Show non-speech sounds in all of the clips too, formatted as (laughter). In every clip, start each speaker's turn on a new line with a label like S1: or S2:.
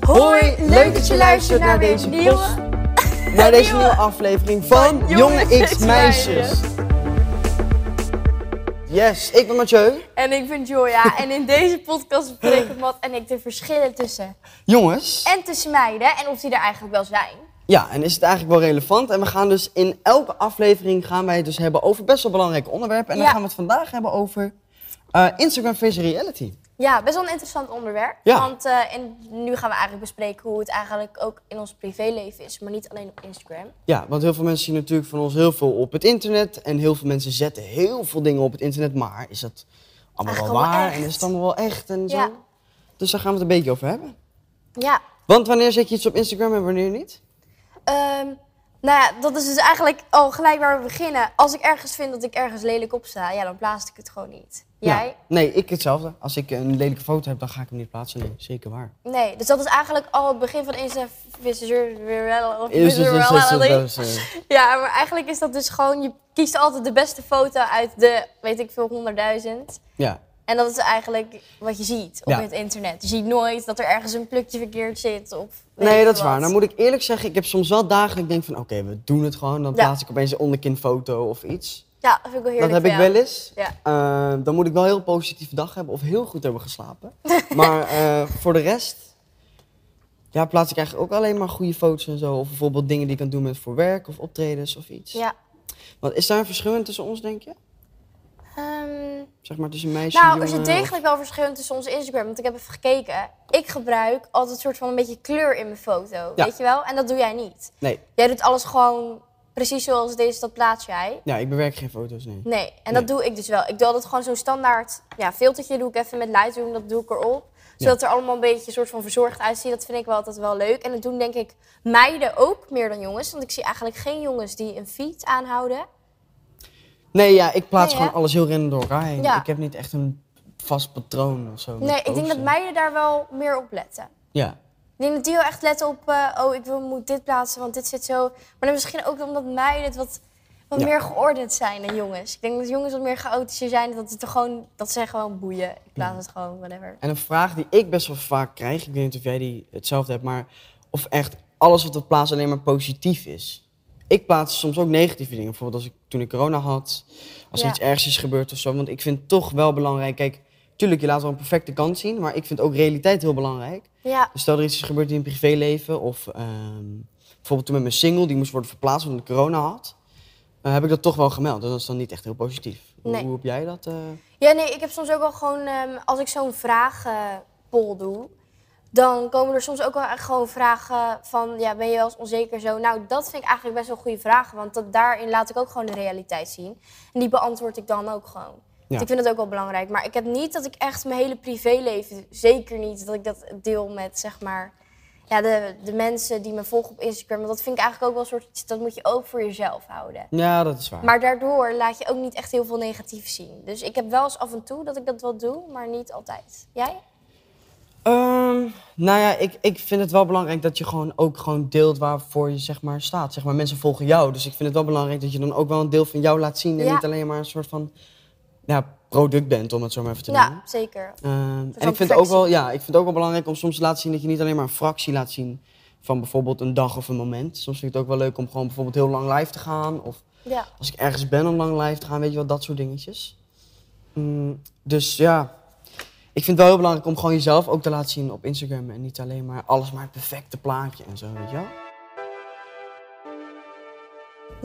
S1: Hoi, leuk dat je luistert naar deze post,
S2: post.
S1: (laughs) naar deze nieuwe aflevering van Jonge X Meisjes. Yes, ik ben Mathieu.
S2: En ik ben
S1: (laughs)
S2: Joya. En in deze podcast bespreken Matt en ik de verschillen tussen.
S1: Jongens.
S2: En tussen meiden. En of die er eigenlijk wel zijn.
S1: Ja, en is het eigenlijk wel relevant? En we gaan dus in elke aflevering gaan wij het dus hebben over best wel belangrijke onderwerpen. En dan
S2: Ja.
S1: gaan we het vandaag hebben over eh, Instagram versus reality.
S2: Ja, best wel een interessant onderwerp.
S1: Ja.
S2: Want eh, en nu gaan we eigenlijk bespreken hoe het eigenlijk ook in ons privéleven is. Maar niet alleen op Instagram.
S1: Ja, want heel veel mensen zien natuurlijk van ons heel veel op het internet. En heel veel mensen zetten heel veel dingen op het internet. Maar is dat allemaal wel
S2: Eigenlijk allemaal
S1: waar?
S2: echt.
S1: En is het allemaal wel echt? En zo.
S2: Ja.
S1: Dus daar gaan we het een beetje over hebben.
S2: Ja.
S1: Want wanneer zet je iets op Instagram en wanneer niet?
S2: Ehm, nou ja, dat is dus eigenlijk al gelijk waar we beginnen. Als ik ergens vind dat ik ergens lelijk op sta, ja, dan plaats ik het gewoon niet. Jij?
S1: Ja. Nee, ik hetzelfde. Als ik een lelijke foto heb, dan ga ik hem niet plaatsen. Nee,
S2: (laughs)
S1: zeker waar.
S2: Nee, dus dat is eigenlijk al het begin van Insta Dus
S1: Is- is- is- is- is- is-
S2: Visibility.
S1: is- is-
S2: Ja, maar eigenlijk is dat dus gewoon, je kiest altijd de beste foto uit de, weet ik veel, honderdduizend. (laughs)
S1: Ja.
S2: En dat is eigenlijk wat je ziet op
S1: Ja.
S2: het internet. Je ziet nooit dat er ergens een plukje verkeerd zit of weet
S1: Nee,
S2: ik
S1: dat is
S2: wat.
S1: waar. Nou moet ik eerlijk zeggen, ik heb soms wel dagen dat ik denk van... Oké, we doen het gewoon. Dan
S2: Ja.
S1: plaats ik opeens een onderkinfoto of iets.
S2: Ja, dat vind ik wel heerlijk
S1: dat heb ik
S2: voor jou.
S1: wel eens.
S2: Ja.
S1: Eh, dan moet ik wel een heel positieve dag hebben of heel goed hebben
S2: (laughs)
S1: geslapen. maar eh, voor de rest ja, plaats ik eigenlijk ook alleen maar goede foto's en zo. Of bijvoorbeeld dingen die ik kan doen met voor werk of optredens of iets.
S2: Ja.
S1: Want is daar een verschil in tussen ons, denk je?
S2: Ehm,
S1: Zeg maar tussen meisjes en
S2: nou, er zit
S1: jongen, of-
S2: degelijk wel verschil tussen onze Instagram, want ik heb even gekeken. Ik gebruik altijd een soort van een beetje kleur in mijn foto,
S1: Ja.
S2: weet je wel? En dat doe jij niet.
S1: Nee,
S2: Jij doet alles gewoon precies zoals het is, dat plaats jij.
S1: ja, ik bewerk geen foto's, nee.
S2: Nee, en dat doe ik dus wel. Ik doe altijd gewoon zo'n standaard ja, filtertje, doe ik even met Lightroom, dat doe ik erop. Zodat er allemaal een beetje een soort van verzorgd uitziet. Dat vind ik wel altijd wel leuk. En dat doen denk ik meiden ook meer dan jongens. Want ik zie eigenlijk geen jongens die een feed aanhouden.
S1: Nee, ja, ik plaats
S2: Nee,
S1: gewoon
S2: hè?
S1: alles heel random door elkaar heen.
S2: Ja.
S1: Ik heb niet echt een vast patroon of zo. met
S2: Nee, ik denk dat
S1: posten.
S2: meiden daar wel meer op letten.
S1: Ja.
S2: Ik denk dat die wel echt letten op, eh, oh, ik wil, moet dit plaatsen, want dit zit zo. Maar dan misschien ook omdat meiden het wat, wat
S1: Ja.
S2: meer geordend zijn dan jongens. Ik denk dat jongens wat meer chaotischer zijn, dat, het er gewoon, dat ze gewoon boeien. Ik plaats het gewoon, whatever.
S1: En een vraag die ik best wel vaak krijg, ik weet niet of jij die hetzelfde hebt, maar of echt alles wat we plaatsen alleen maar positief is. Ik plaats soms ook negatieve dingen. Bijvoorbeeld als ik, toen ik corona had, als er
S2: Ja.
S1: iets ergs is gebeurd of zo. Want ik vind het toch wel belangrijk. Kijk, tuurlijk, je laat wel een perfecte kant zien, maar ik vind ook realiteit heel belangrijk.
S2: Ja,
S1: Dus stel er iets is gebeurd in het privéleven of ehm, bijvoorbeeld toen met mijn single, die moest worden verplaatst omdat ik corona had. eh, heb ik dat toch wel gemeld. Dus dat is dan niet echt heel positief. Hoe-
S2: Nee.
S1: Hoe heb jij dat? eh?
S2: ja nee, ik heb soms ook wel gewoon, ehm, als ik zo'n vragenpoll doe, dan komen er soms ook wel echt gewoon vragen van, ja, ben je wel eens onzeker zo? Nou, dat vind ik eigenlijk best wel goede vragen, want dat, daarin laat ik ook gewoon de realiteit zien. En die beantwoord ik dan ook gewoon.
S1: Ja.
S2: Want Ik vind het ook wel belangrijk, maar ik heb niet dat ik echt mijn hele privéleven, zeker niet, dat ik dat deel met, zeg maar, ja, de, de mensen die me volgen op Instagram. Want dat vind ik eigenlijk ook wel een soort, dat moet je ook voor jezelf houden.
S1: Ja, dat is waar.
S2: Maar daardoor laat je ook niet echt heel veel negatief zien. Dus ik heb wel eens af en toe dat ik dat wel doe, maar niet altijd. Jij?
S1: Ehm, nou ja, ik, ik vind het wel belangrijk dat je gewoon ook gewoon deelt waarvoor je zeg maar, staat. Zeg maar, mensen volgen jou, dus ik vind het wel belangrijk dat je dan ook wel een deel van jou laat zien. En
S2: Ja.
S1: niet alleen maar een soort van ja, product bent, om het zo maar even te noemen.
S2: Ja, zeker.
S1: Ehm, en
S2: van
S1: ik vind, ook wel,
S2: perfectie.
S1: ja, ik vind het ook wel belangrijk om soms te laten zien dat je niet alleen maar een fractie laat zien van bijvoorbeeld een dag of een moment. Soms vind ik het ook wel leuk om gewoon bijvoorbeeld heel lang live te gaan. Of
S2: Ja.
S1: als ik ergens ben om lang live te gaan, weet je wel, dat soort dingetjes. Mm, dus ja, ik vind het wel heel belangrijk om gewoon jezelf ook te laten zien op Instagram. En niet alleen maar alles maar het perfecte plaatje en zo, weet je wel.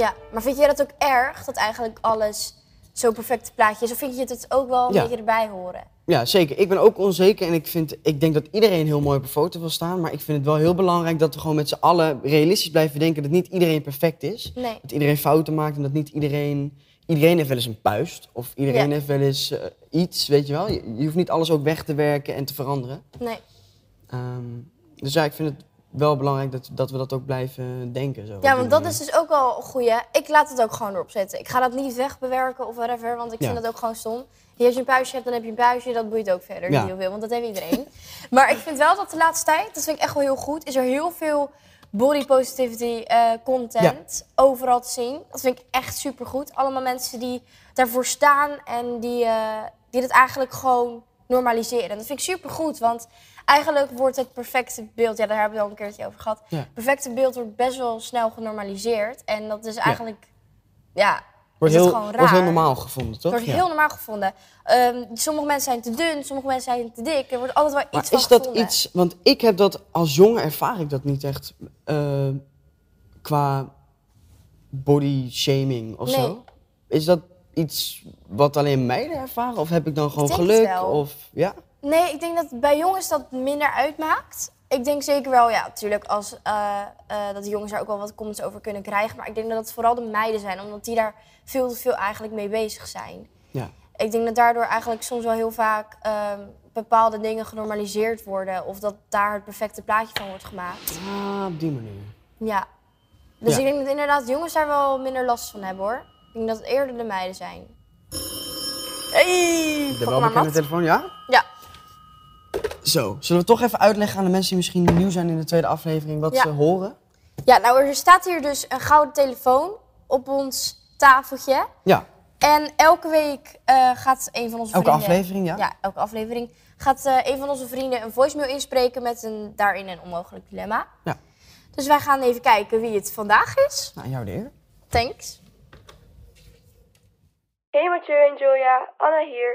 S2: ja. Maar vind jij dat ook erg, dat eigenlijk alles zo'n perfecte plaatje is? Of vind je het ook wel een
S1: Ja.
S2: beetje erbij horen?
S1: Ja, zeker. Ik ben ook onzeker en ik, vind, ik denk dat iedereen heel mooi op een foto wil staan. Maar ik vind het wel heel belangrijk dat we gewoon met z'n allen realistisch blijven denken dat niet iedereen perfect is.
S2: Nee.
S1: Dat iedereen fouten maakt en dat niet iedereen... Iedereen heeft wel eens een puist of iedereen
S2: Ja.
S1: heeft wel eens eh, iets, weet je wel. Je, je hoeft niet alles ook weg te werken en te veranderen.
S2: Nee.
S1: Ehm, dus ja, ik vind het wel belangrijk dat, dat we dat ook blijven denken. Zo, op
S2: Ja,
S1: die
S2: want dat
S1: manier.
S2: is dus ook wel een goeie. Ik laat het ook gewoon erop zetten. Ik ga dat niet wegbewerken of whatever, want ik
S1: Ja.
S2: vind dat ook gewoon stom. Je hebt een puistje, hebt, dan heb je een puistje. Dat boeit ook verder
S1: Ja.
S2: niet heel veel, want dat heeft iedereen. (laughs) maar ik vind wel dat de laatste tijd, dat vind ik echt wel heel goed, is er heel veel body positivity eh, content overal te zien. Dat vind ik echt supergoed. Allemaal mensen die daarvoor staan en die, eh, die het eigenlijk gewoon normaliseren. Dat vind ik supergoed, want eigenlijk wordt het perfecte beeld... Ja, daar hebben we het al een keertje over gehad.
S1: Ja.
S2: Het perfecte beeld wordt best wel snel genormaliseerd. En dat is eigenlijk... Ja,
S1: Wordt
S2: is het
S1: heel,
S2: gewoon
S1: wordt heel
S2: raar.
S1: normaal gevonden, toch?
S2: het wordt
S1: Ja.
S2: heel normaal gevonden. Ehm, sommige mensen zijn te dun, sommige mensen zijn te dik. Er wordt altijd wel
S1: Maar
S2: iets van
S1: is dat
S2: gevonden.
S1: iets, want ik heb dat als jongen ervaar ik dat niet echt eh, qua body shaming of
S2: Nee.
S1: zo. Is dat iets wat alleen meiden ervaren of heb ik dan gewoon
S2: denk het
S1: geluk
S2: wel.
S1: of ja?
S2: Nee, ik denk dat bij jongens dat minder uitmaakt. Ik denk zeker wel, ja, natuurlijk, als, eh, eh, dat de jongens daar ook wel wat comments over kunnen krijgen. Maar ik denk dat het vooral de meiden zijn, omdat die daar veel te veel eigenlijk mee bezig zijn.
S1: Ja.
S2: Ik denk dat daardoor eigenlijk soms wel heel vaak ehm, bepaalde dingen genormaliseerd worden. Of dat daar het perfecte plaatje van wordt gemaakt.
S1: Ah, op die manier.
S2: Ja. Dus
S1: Ja.
S2: ik denk dat inderdaad jongens daar wel minder last van hebben hoor. Ik denk dat het eerder de meiden zijn. Hey,
S1: De
S2: pak maar
S1: welbekende
S2: mat.
S1: telefoon, ja?
S2: Ja,
S1: Zo, zullen we toch even uitleggen aan de mensen die misschien nieuw zijn in de tweede aflevering wat
S2: Ja.
S1: ze horen?
S2: Ja, nou, er staat hier dus een gouden telefoon op ons tafeltje.
S1: Ja,
S2: En elke week eh, gaat een van onze
S1: elke
S2: vrienden...
S1: aflevering, ja.
S2: Ja, elke aflevering gaat eh, een van onze vrienden een voicemail inspreken met een, daarin een onmogelijk dilemma.
S1: Ja.
S2: Dus wij gaan even kijken wie het vandaag is.
S1: Nou, jou de eer.
S2: Thanks.
S3: Hey Mathieu en Julia, Anna hier.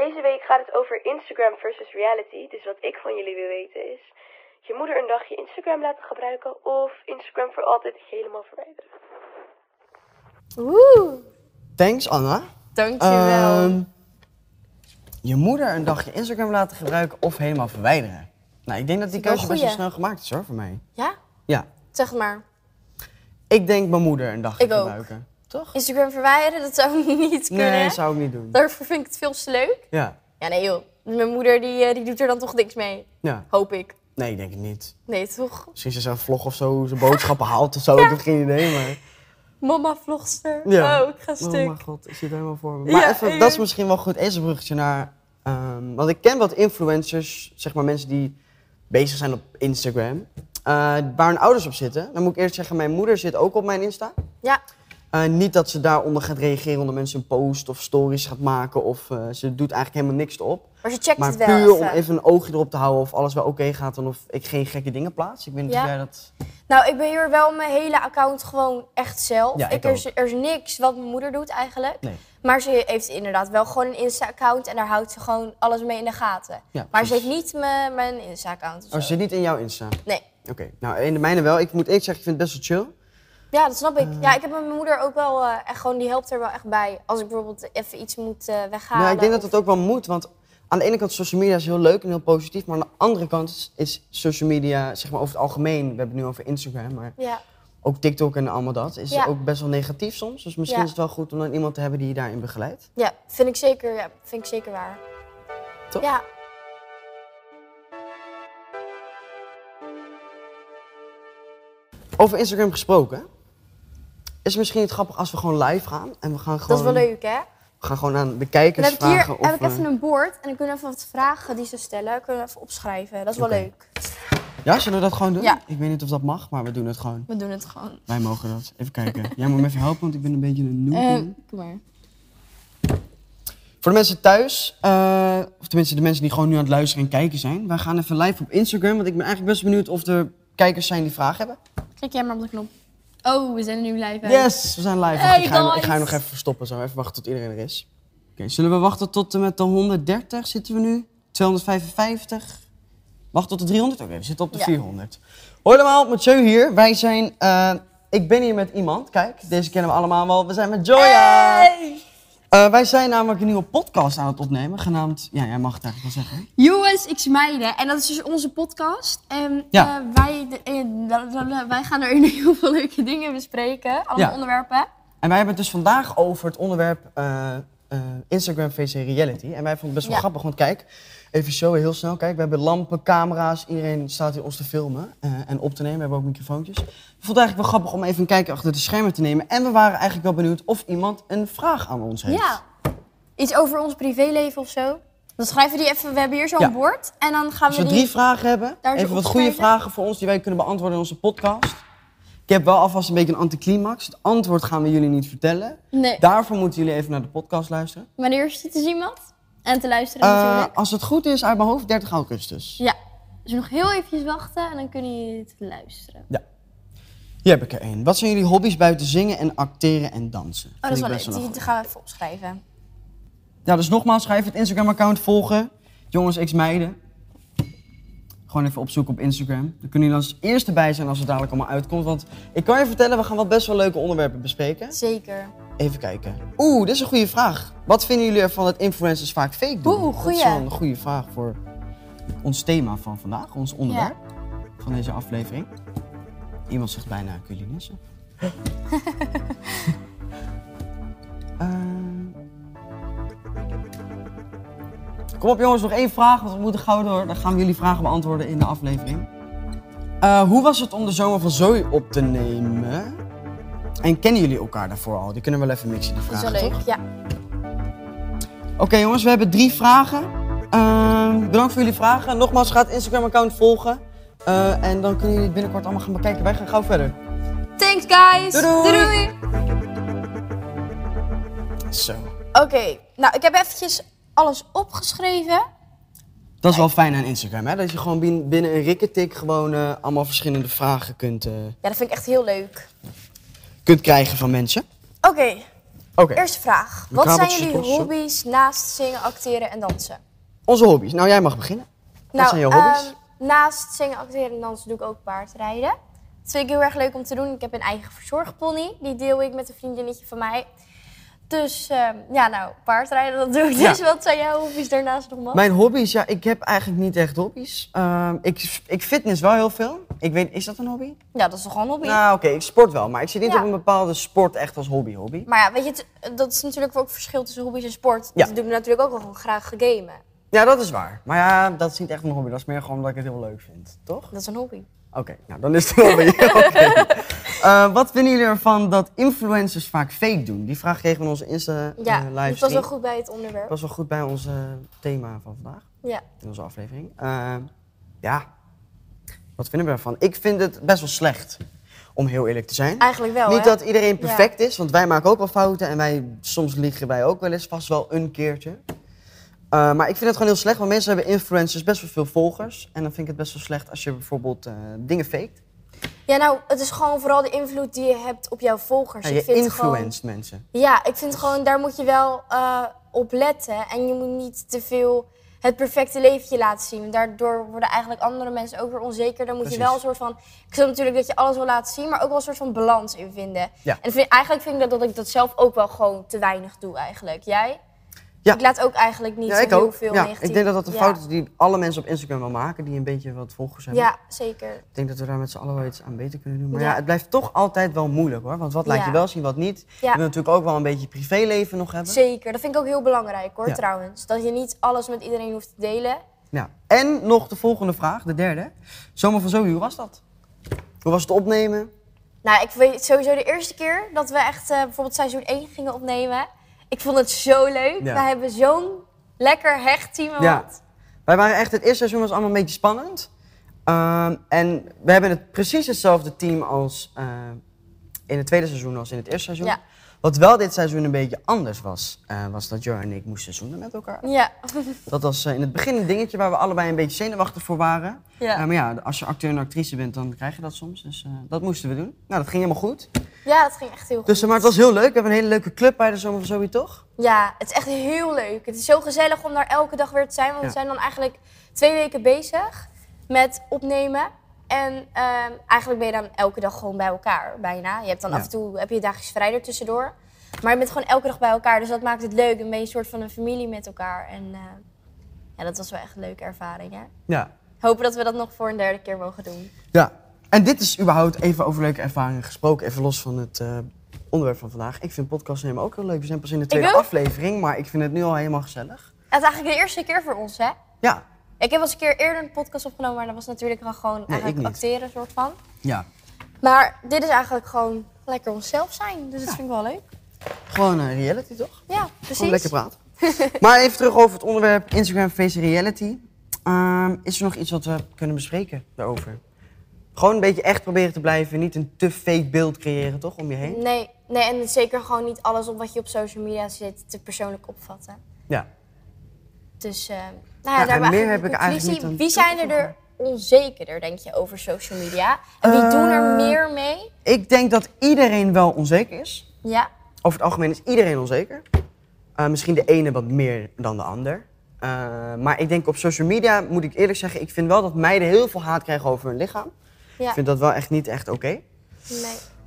S3: Deze week gaat het over Instagram versus reality, dus wat ik van jullie wil weten is... je moeder een dagje Instagram laten gebruiken of Instagram voor altijd helemaal verwijderen.
S2: Oeh,
S1: Thanks, Anna.
S2: dankjewel.
S1: Ehm, je moeder een dagje Instagram laten gebruiken of helemaal verwijderen. Nou, ik denk dat die
S2: Dat is
S1: keuze
S2: wel
S1: best wel
S2: goeie.
S1: snel gemaakt is hoor, voor mij.
S2: Ja,
S1: Ja.
S2: zeg het maar.
S1: Ik denk mijn moeder een dagje
S2: Ik ook.
S1: gebruiken. Toch?
S2: Instagram verwijderen, dat zou (laughs) niet kunnen.
S1: Nee, zou ik niet doen.
S2: Daarvoor vind ik het veel te leuk.
S1: Ja.
S2: Ja, nee joh. Mijn moeder die, eh, die doet er dan toch niks mee.
S1: Ja.
S2: Hoop ik.
S1: Nee, ik denk het niet.
S2: Nee, toch?
S1: Misschien is er een vlog of zo, hoe ze boodschappen haalt of zo. Ik heb geen idee, maar...
S2: Mama vlogster.
S1: Ja.
S2: Oh, ik ga
S1: Oh
S2: stuk.
S1: mijn god, ik zit helemaal voor me. Maar
S2: Ja,
S1: even,
S2: eh.
S1: dat is misschien wel goed. Eerst een bruggetje naar... ehm, want ik ken wat influencers, zeg maar mensen die bezig zijn op Instagram. eh, waar hun ouders op zitten. Dan moet ik eerst zeggen, mijn moeder zit ook op mijn Insta.
S2: ja,
S1: Eh, niet dat ze daaronder gaat reageren onder mensen een post of stories gaat maken. Of eh, ze doet eigenlijk helemaal niks erop.
S2: maar ze checkt
S1: Maar
S2: het wel
S1: puur
S2: even.
S1: om even een oogje erop te houden of alles wel oké gaat en of ik geen gekke dingen plaats. Ik weet niet
S2: Ja.
S1: of jij dat...
S2: Nou, ik beheer wel mijn hele account gewoon echt zelf.
S1: Ja, ik
S2: er, is, er is niks wat mijn moeder doet eigenlijk.
S1: Nee.
S2: Maar ze heeft inderdaad wel gewoon een Insta-account en daar houdt ze gewoon alles mee in de gaten.
S1: Ja,
S2: maar ze
S1: precies.
S2: heeft niet mijn, mijn Insta-account. of
S1: Oh, ze
S2: zo.
S1: zit niet in jouw Insta?
S2: Nee.
S1: Oké. Nou, in de mijne wel. Ik moet eerlijk zeggen, ik vind het best wel chill.
S2: Ja, dat snap ik.
S1: Eh.
S2: ja, ik heb met mijn moeder ook wel eh, echt gewoon, die helpt er wel echt bij. Als ik bijvoorbeeld even iets moet eh, weghalen.
S1: Ja, ik denk dat
S2: of-
S1: het ook wel moet, want aan de ene kant social media is heel leuk en heel positief. Maar aan de andere kant is, is social media, zeg maar over het algemeen, we hebben het nu over Instagram, maar
S2: Ja,
S1: ook TikTok en allemaal dat, is
S2: Ja.
S1: ook best wel negatief soms. Dus misschien
S2: Ja.
S1: is het wel goed om dan iemand te hebben die je daarin begeleidt.
S2: ja, vind ik zeker, ja, vind ik zeker waar.
S1: Toch?
S2: Ja.
S1: Over Instagram gesproken. Is het misschien het grappig als we gewoon live gaan en we gaan
S2: Dat
S1: gewoon,
S2: is wel leuk, hè?
S1: We gaan gewoon aan de
S2: Dan
S1: kijkers
S2: heb ik hier
S1: vragen of eh,
S2: heb ik
S1: we-
S2: even een bord en dan kunnen we even wat vragen die ze stellen. Kunnen we even opschrijven. Dat is wel
S1: Oké.
S2: leuk.
S1: Ja, zullen we dat gewoon doen?
S2: Ja.
S1: Ik weet niet of dat mag, maar we doen het gewoon.
S2: We doen het gewoon.
S1: Wij mogen dat. Even kijken. Jij moet me even helpen, want ik ben een beetje een noob.
S2: Eh,
S1: nu.
S2: kom maar.
S1: Voor de mensen thuis, eh, of tenminste de mensen die gewoon nu aan het luisteren en kijken zijn, wij gaan even live op Instagram, want ik ben eigenlijk best benieuwd of er kijkers zijn die vragen hebben.
S2: Klik jij maar op de knop. Oh, we zijn er nu live. hè?
S1: Yes, we zijn live. Wacht,
S2: Hey,
S1: ik, ga, hem- ik
S2: guys.
S1: ga hem nog even verstoppen zo. Even wachten tot iedereen er is. Oké, zullen we wachten tot en met de 130 zitten we nu? 255? Wacht tot de 300? Oké, we zitten op de
S2: Ja.
S1: 400. Hoi allemaal, Mathieu hier. Wij zijn... eh, ik ben hier met iemand. Kijk, deze kennen we allemaal wel. We zijn met Joya.
S2: Hey!
S1: Eh, wij zijn namelijk een nieuwe podcast aan het opnemen, genaamd... Ja, jij mag het eigenlijk wel zeggen.
S2: Jongens, ik meiden. En dat is dus onze podcast. En
S1: Ja.
S2: eh, wij, de- eh, wij gaan er (laughs) heel veel leuke dingen bespreken. Allemaal
S1: Ja.
S2: onderwerpen.
S1: En wij hebben het dus vandaag over het onderwerp eh, eh, Instagram VC Reality. En wij vonden het best wel
S2: Ja.
S1: grappig, want kijk, even showen heel snel. Kijk, we hebben lampen, camera's, iedereen staat hier ons te filmen eh, en op te nemen. We hebben ook microfoontjes. We vonden het eigenlijk wel grappig om even een kijkje achter de schermen te nemen. En we waren eigenlijk wel benieuwd of iemand een vraag aan ons heeft.
S2: Ja. Iets over ons privéleven of zo. Dan schrijven we die even. We hebben hier zo'n
S1: Ja.
S2: bord. En dan gaan
S1: Als
S2: we
S1: we
S2: die...
S1: drie vragen hebben,
S2: Daar is
S1: even wat
S2: opschrijven.
S1: goede vragen voor ons die wij kunnen beantwoorden in onze podcast. Ik heb wel alvast een beetje een anticlimax. Het antwoord gaan we jullie niet vertellen.
S2: Nee.
S1: Daarvoor moeten jullie even naar de podcast luisteren.
S2: Wanneer is het? Is iemand?
S4: En te luisteren
S1: Eh,
S4: natuurlijk.
S1: als het goed is, uit mijn hoofd 30 augustus.
S4: Ja. Dus nog heel eventjes wachten en dan kunnen jullie het
S2: Oh,
S4: luisteren.
S1: Hier heb ik er één. Wat zijn jullie hobby's buiten zingen en acteren en dansen?
S2: Oh, dat is wel
S1: Vind ik best
S2: leuk. Die, die gaan we even opschrijven.
S1: Ja, dus nogmaals, schrijf het Instagram-account volgen. Jongens X Meiden. Gewoon even opzoeken op Instagram. Dan kunnen jullie als eerste bij zijn als het dadelijk allemaal uitkomt. Want ik kan je vertellen, we gaan wat best wel leuke onderwerpen bespreken.
S2: Zeker.
S1: Even kijken. Oeh, dit is een goede vraag. Wat vinden jullie ervan dat influencers vaak fake doen?
S2: Oeh,
S1: Dat
S2: goeie.
S1: is wel een goede vraag voor ons thema van vandaag, ons onderwerp van deze aflevering. Iemand zegt bijna
S2: (laughs)
S1: culinaire. Eh, Kom op jongens, nog één vraag, want we moeten gauw door. Dan gaan we jullie vragen beantwoorden in de aflevering. Eh, hoe was het om de zomer van Zoe op te nemen? En kennen jullie elkaar daarvoor al? Die kunnen we wel even mixen, die
S2: Dat is
S1: vragen,
S2: wel leuk.
S1: toch?
S2: Ja.
S1: Oké jongens, we hebben drie vragen. Ehm, bedankt voor jullie vragen. Nogmaals, ga het Instagram-account volgen. Eh, en dan kunnen jullie het binnenkort allemaal gaan bekijken. Wij gaan gauw verder.
S4: Thanks guys!
S1: Doei, doei.
S4: doei.
S1: Zo.
S2: Oké, nou ik heb eventjes alles opgeschreven.
S1: Dat is wel fijn aan Instagram, hè? Dat je gewoon bin- binnen een rikketik gewoon eh, allemaal verschillende vragen kunt, eh,
S2: Ja, dat vind ik echt heel leuk.
S1: kunt krijgen van mensen.
S2: Oké,
S1: Oké,
S2: eerste vraag.
S1: De
S2: Wat zijn
S1: kabeltjes
S2: jullie
S1: lossen.
S2: hobby's naast zingen, acteren en dansen?
S1: onze hobby's. Nou, jij mag beginnen. Wat zijn je hobby's?
S2: ehm, naast zingen, acteren en dansen doe ik ook paardrijden. Dat vind ik heel erg leuk om te doen. Ik heb een eigen verzorgpony. Die deel ik met een vriendinnetje van mij. Dus ehm, ja, nou, paardrijden, dat doe ik
S1: Ja.
S2: dus. Wat zijn jouw hobby's daarnaast nog, man?
S1: Mijn hobby's, ja, ik heb eigenlijk niet echt hobby's. Ehm, ik, ik fitness wel heel veel. Ik weet, is dat een hobby?
S2: Ja, dat is toch gewoon een hobby?
S1: Nou, oké, ik sport wel, maar ik zit niet
S2: Ja.
S1: op een bepaalde sport echt als hobby-hobby.
S2: Maar ja, weet je, het- dat is natuurlijk ook verschil tussen hobby's en sport.
S1: Ja.
S2: Dat doe ik natuurlijk ook wel gewoon graag gamen.
S1: Ja, dat is waar. Maar ja, dat is niet echt mijn hobby. Dat is meer gewoon omdat ik het heel leuk vind, toch?
S2: Dat is een hobby.
S1: Oké, nou dan is het een hobby. (laughs) Oké. Eh, wat vinden jullie ervan dat influencers vaak fake doen? Die vraag kregen we in onze Insta eh
S2: Ja,
S1: livestream.
S2: dat was wel goed bij het onderwerp.
S1: Pas wel goed bij ons eh, thema van vandaag,
S2: Ja.
S1: in onze aflevering. Eh, ja, wat vinden we ervan? Ik vind het best wel slecht, om heel eerlijk te zijn.
S2: Eigenlijk wel,
S1: Niet
S2: hè?
S1: dat iedereen perfect is, want wij maken ook wel fouten en wij, soms liegen wij ook wel eens, vast wel een keertje. Uh, maar ik vind het gewoon heel slecht, want mensen hebben influencers best wel veel volgers. En dan vind ik het best wel slecht als je bijvoorbeeld eh, dingen faked.
S2: Ja, nou, het is gewoon vooral de invloed die je hebt op jouw volgers.
S1: Ja,
S2: Dus ik
S1: je
S2: vind
S1: influenced mensen.
S2: Gewoon, ja, ik vind gewoon, daar moet je wel eh, op letten. En je moet niet te veel het perfecte leventje laten zien. Want Daardoor worden eigenlijk andere mensen ook weer onzeker. Dan moet je
S1: Precies.
S2: wel een soort van... Ik snap natuurlijk dat je alles wil laten zien, maar ook wel een soort van balans in vinden.
S1: Ja.
S2: En vind, eigenlijk vind ik dat, dat ik dat zelf ook wel gewoon te weinig doe eigenlijk. Jij?
S1: Ja.
S2: Ik laat ook eigenlijk niet
S1: ja,
S2: zo
S1: ik
S2: heel
S1: ook.
S2: veel
S1: Ja,
S2: negatief-
S1: ik denk dat dat een
S2: Ja.
S1: fout is die alle mensen op Instagram wel maken, die een beetje wat volgers hebben.
S2: Ja, zeker.
S1: Ik denk dat we daar met z'n allen wel iets aan beter kunnen doen. Maar ja,
S2: Ja.
S1: het blijft toch altijd wel moeilijk hoor. Want wat laat
S2: Ja.
S1: je wel zien, wat niet.
S2: Ja.
S1: Je wil natuurlijk ook wel een beetje privéleven nog hebben.
S2: Zeker, dat vind ik ook heel belangrijk hoor
S1: Ja.
S2: trouwens. Dat je niet alles met iedereen hoeft te delen.
S1: Ja. En nog de volgende vraag, de derde. Zomer van Zoe, hoe was dat? Hoe was het opnemen?
S2: Nou, ik weet sowieso de eerste keer dat we echt eh, bijvoorbeeld seizoen 1 gingen opnemen. Ik vond het zo leuk.
S1: Ja.
S2: We hebben zo'n lekker hecht team gehad.
S1: Wij waren echt, het eerste seizoen was allemaal een beetje spannend. Ehm, en we hebben het precies hetzelfde team als eh, in het tweede seizoen als in het eerste seizoen.
S2: Ja.
S1: Wat wel dit seizoen een beetje anders was, eh, was dat Jo en ik moesten zoenen met elkaar.
S2: Ja.
S1: Dat was eh, in het begin een dingetje waar we allebei een beetje zenuwachtig voor waren.
S2: Ja.
S1: Eh, maar ja, als je acteur en actrice bent, dan krijg je dat soms. Dus eh, dat moesten we doen. Nou, dat ging helemaal goed.
S2: ja, dat ging echt heel goed.
S1: Dus, eh, maar het was heel leuk. We hebben een hele leuke club bij de Zomer van Zoe, toch?
S2: Ja, het is echt heel leuk. Het is zo gezellig om daar elke dag weer te zijn. Want
S1: Ja.
S2: we zijn dan eigenlijk twee weken bezig met opnemen. En ehm, eigenlijk ben je dan elke dag gewoon bij elkaar, bijna. Je hebt dan
S1: Ja.
S2: af en toe heb je dagjes vrij er tussendoor. Maar je bent gewoon elke dag bij elkaar. Dus dat maakt het leuk. Dan ben je een soort van een familie met elkaar. En eh, ja, dat was wel echt een leuke ervaring. Hè?
S1: Ja.
S2: Hopen dat we dat nog voor een derde keer mogen doen.
S1: Ja. En dit is überhaupt even over leuke ervaringen gesproken. Even los van het eh, onderwerp van vandaag. Ik vind podcast nemen ook heel leuk. We zijn pas in de tweede
S2: ook.
S1: aflevering, maar ik vind het nu al helemaal gezellig.
S2: Het is eigenlijk de eerste keer voor ons, hè?
S1: Ja.
S2: Ik heb wel eens een keer eerder een podcast opgenomen, maar dat was natuurlijk wel gewoon eigenlijk
S1: ik niet.
S2: acteren, soort van.
S1: Ja.
S2: Maar dit is eigenlijk gewoon lekker onszelf zijn. Dus dat vind ik wel leuk.
S1: Gewoon eh, reality, toch?
S2: Ja, precies.
S1: Gewoon lekker praten.
S2: (laughs)
S1: maar even terug over het onderwerp Instagram face reality. Ehm, is er nog iets wat we kunnen bespreken daarover? Gewoon een beetje echt proberen te blijven. Niet een te fake beeld creëren, toch? Om je heen.
S2: Nee, nee, en zeker gewoon niet alles op wat je op social media zit te persoonlijk opvatten.
S1: Ja.
S2: Dus eh, nou ja,
S1: en
S2: daar
S1: meer
S2: de
S1: heb ik eigenlijk
S2: conclusie.
S1: niet aan
S2: Wie
S1: toe te
S2: zijn er er onzekerder, denk je, over social media? En wie doen er
S1: Eh,
S2: meer mee?
S1: Ik denk dat iedereen wel onzeker is.
S2: Ja.
S1: Over het algemeen is iedereen onzeker. Uh, misschien de ene wat meer dan de ander. Uh, maar ik denk op social media, moet ik eerlijk zeggen, ik vind wel dat meiden heel veel haat krijgen over hun lichaam.
S2: Ja.
S1: Ik vind dat wel echt niet echt oké.
S2: Nee.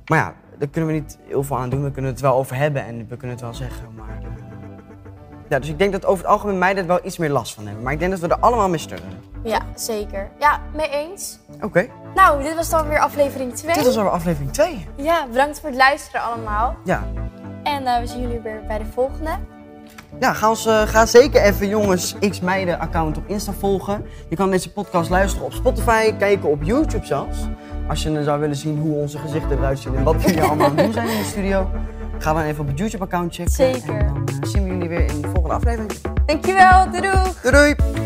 S1: Maar ja, daar kunnen we niet heel veel aan doen. We kunnen het wel over hebben en we kunnen het wel zeggen. Maar... Ja, dus ik denk dat over het algemeen meiden er wel iets meer last van hebben. Maar ik denk dat we er allemaal mee sturen.
S2: Ja, zeker. Ja, mee eens.
S1: Oké,
S2: Nou, dit was dan weer aflevering 2.
S1: dit was alweer aflevering 2.
S2: Ja, bedankt voor het luisteren allemaal.
S1: Ja,
S2: En eh, we zien jullie weer bij de volgende.
S1: Ja, ga, ons, eh, ga zeker even jongens X Meiden account op Insta volgen. Je kan deze podcast luisteren op Spotify, kijken op YouTube zelfs. Als je dan zou willen zien hoe onze gezichten eruit zien en wat we hier allemaal aan het doen zijn in de studio. Ga dan even op het YouTube account checken.
S2: Zeker.
S1: En dan eh, zien we jullie weer in de volgende aflevering.
S2: Dankjewel, doei doei!
S1: Doei doei!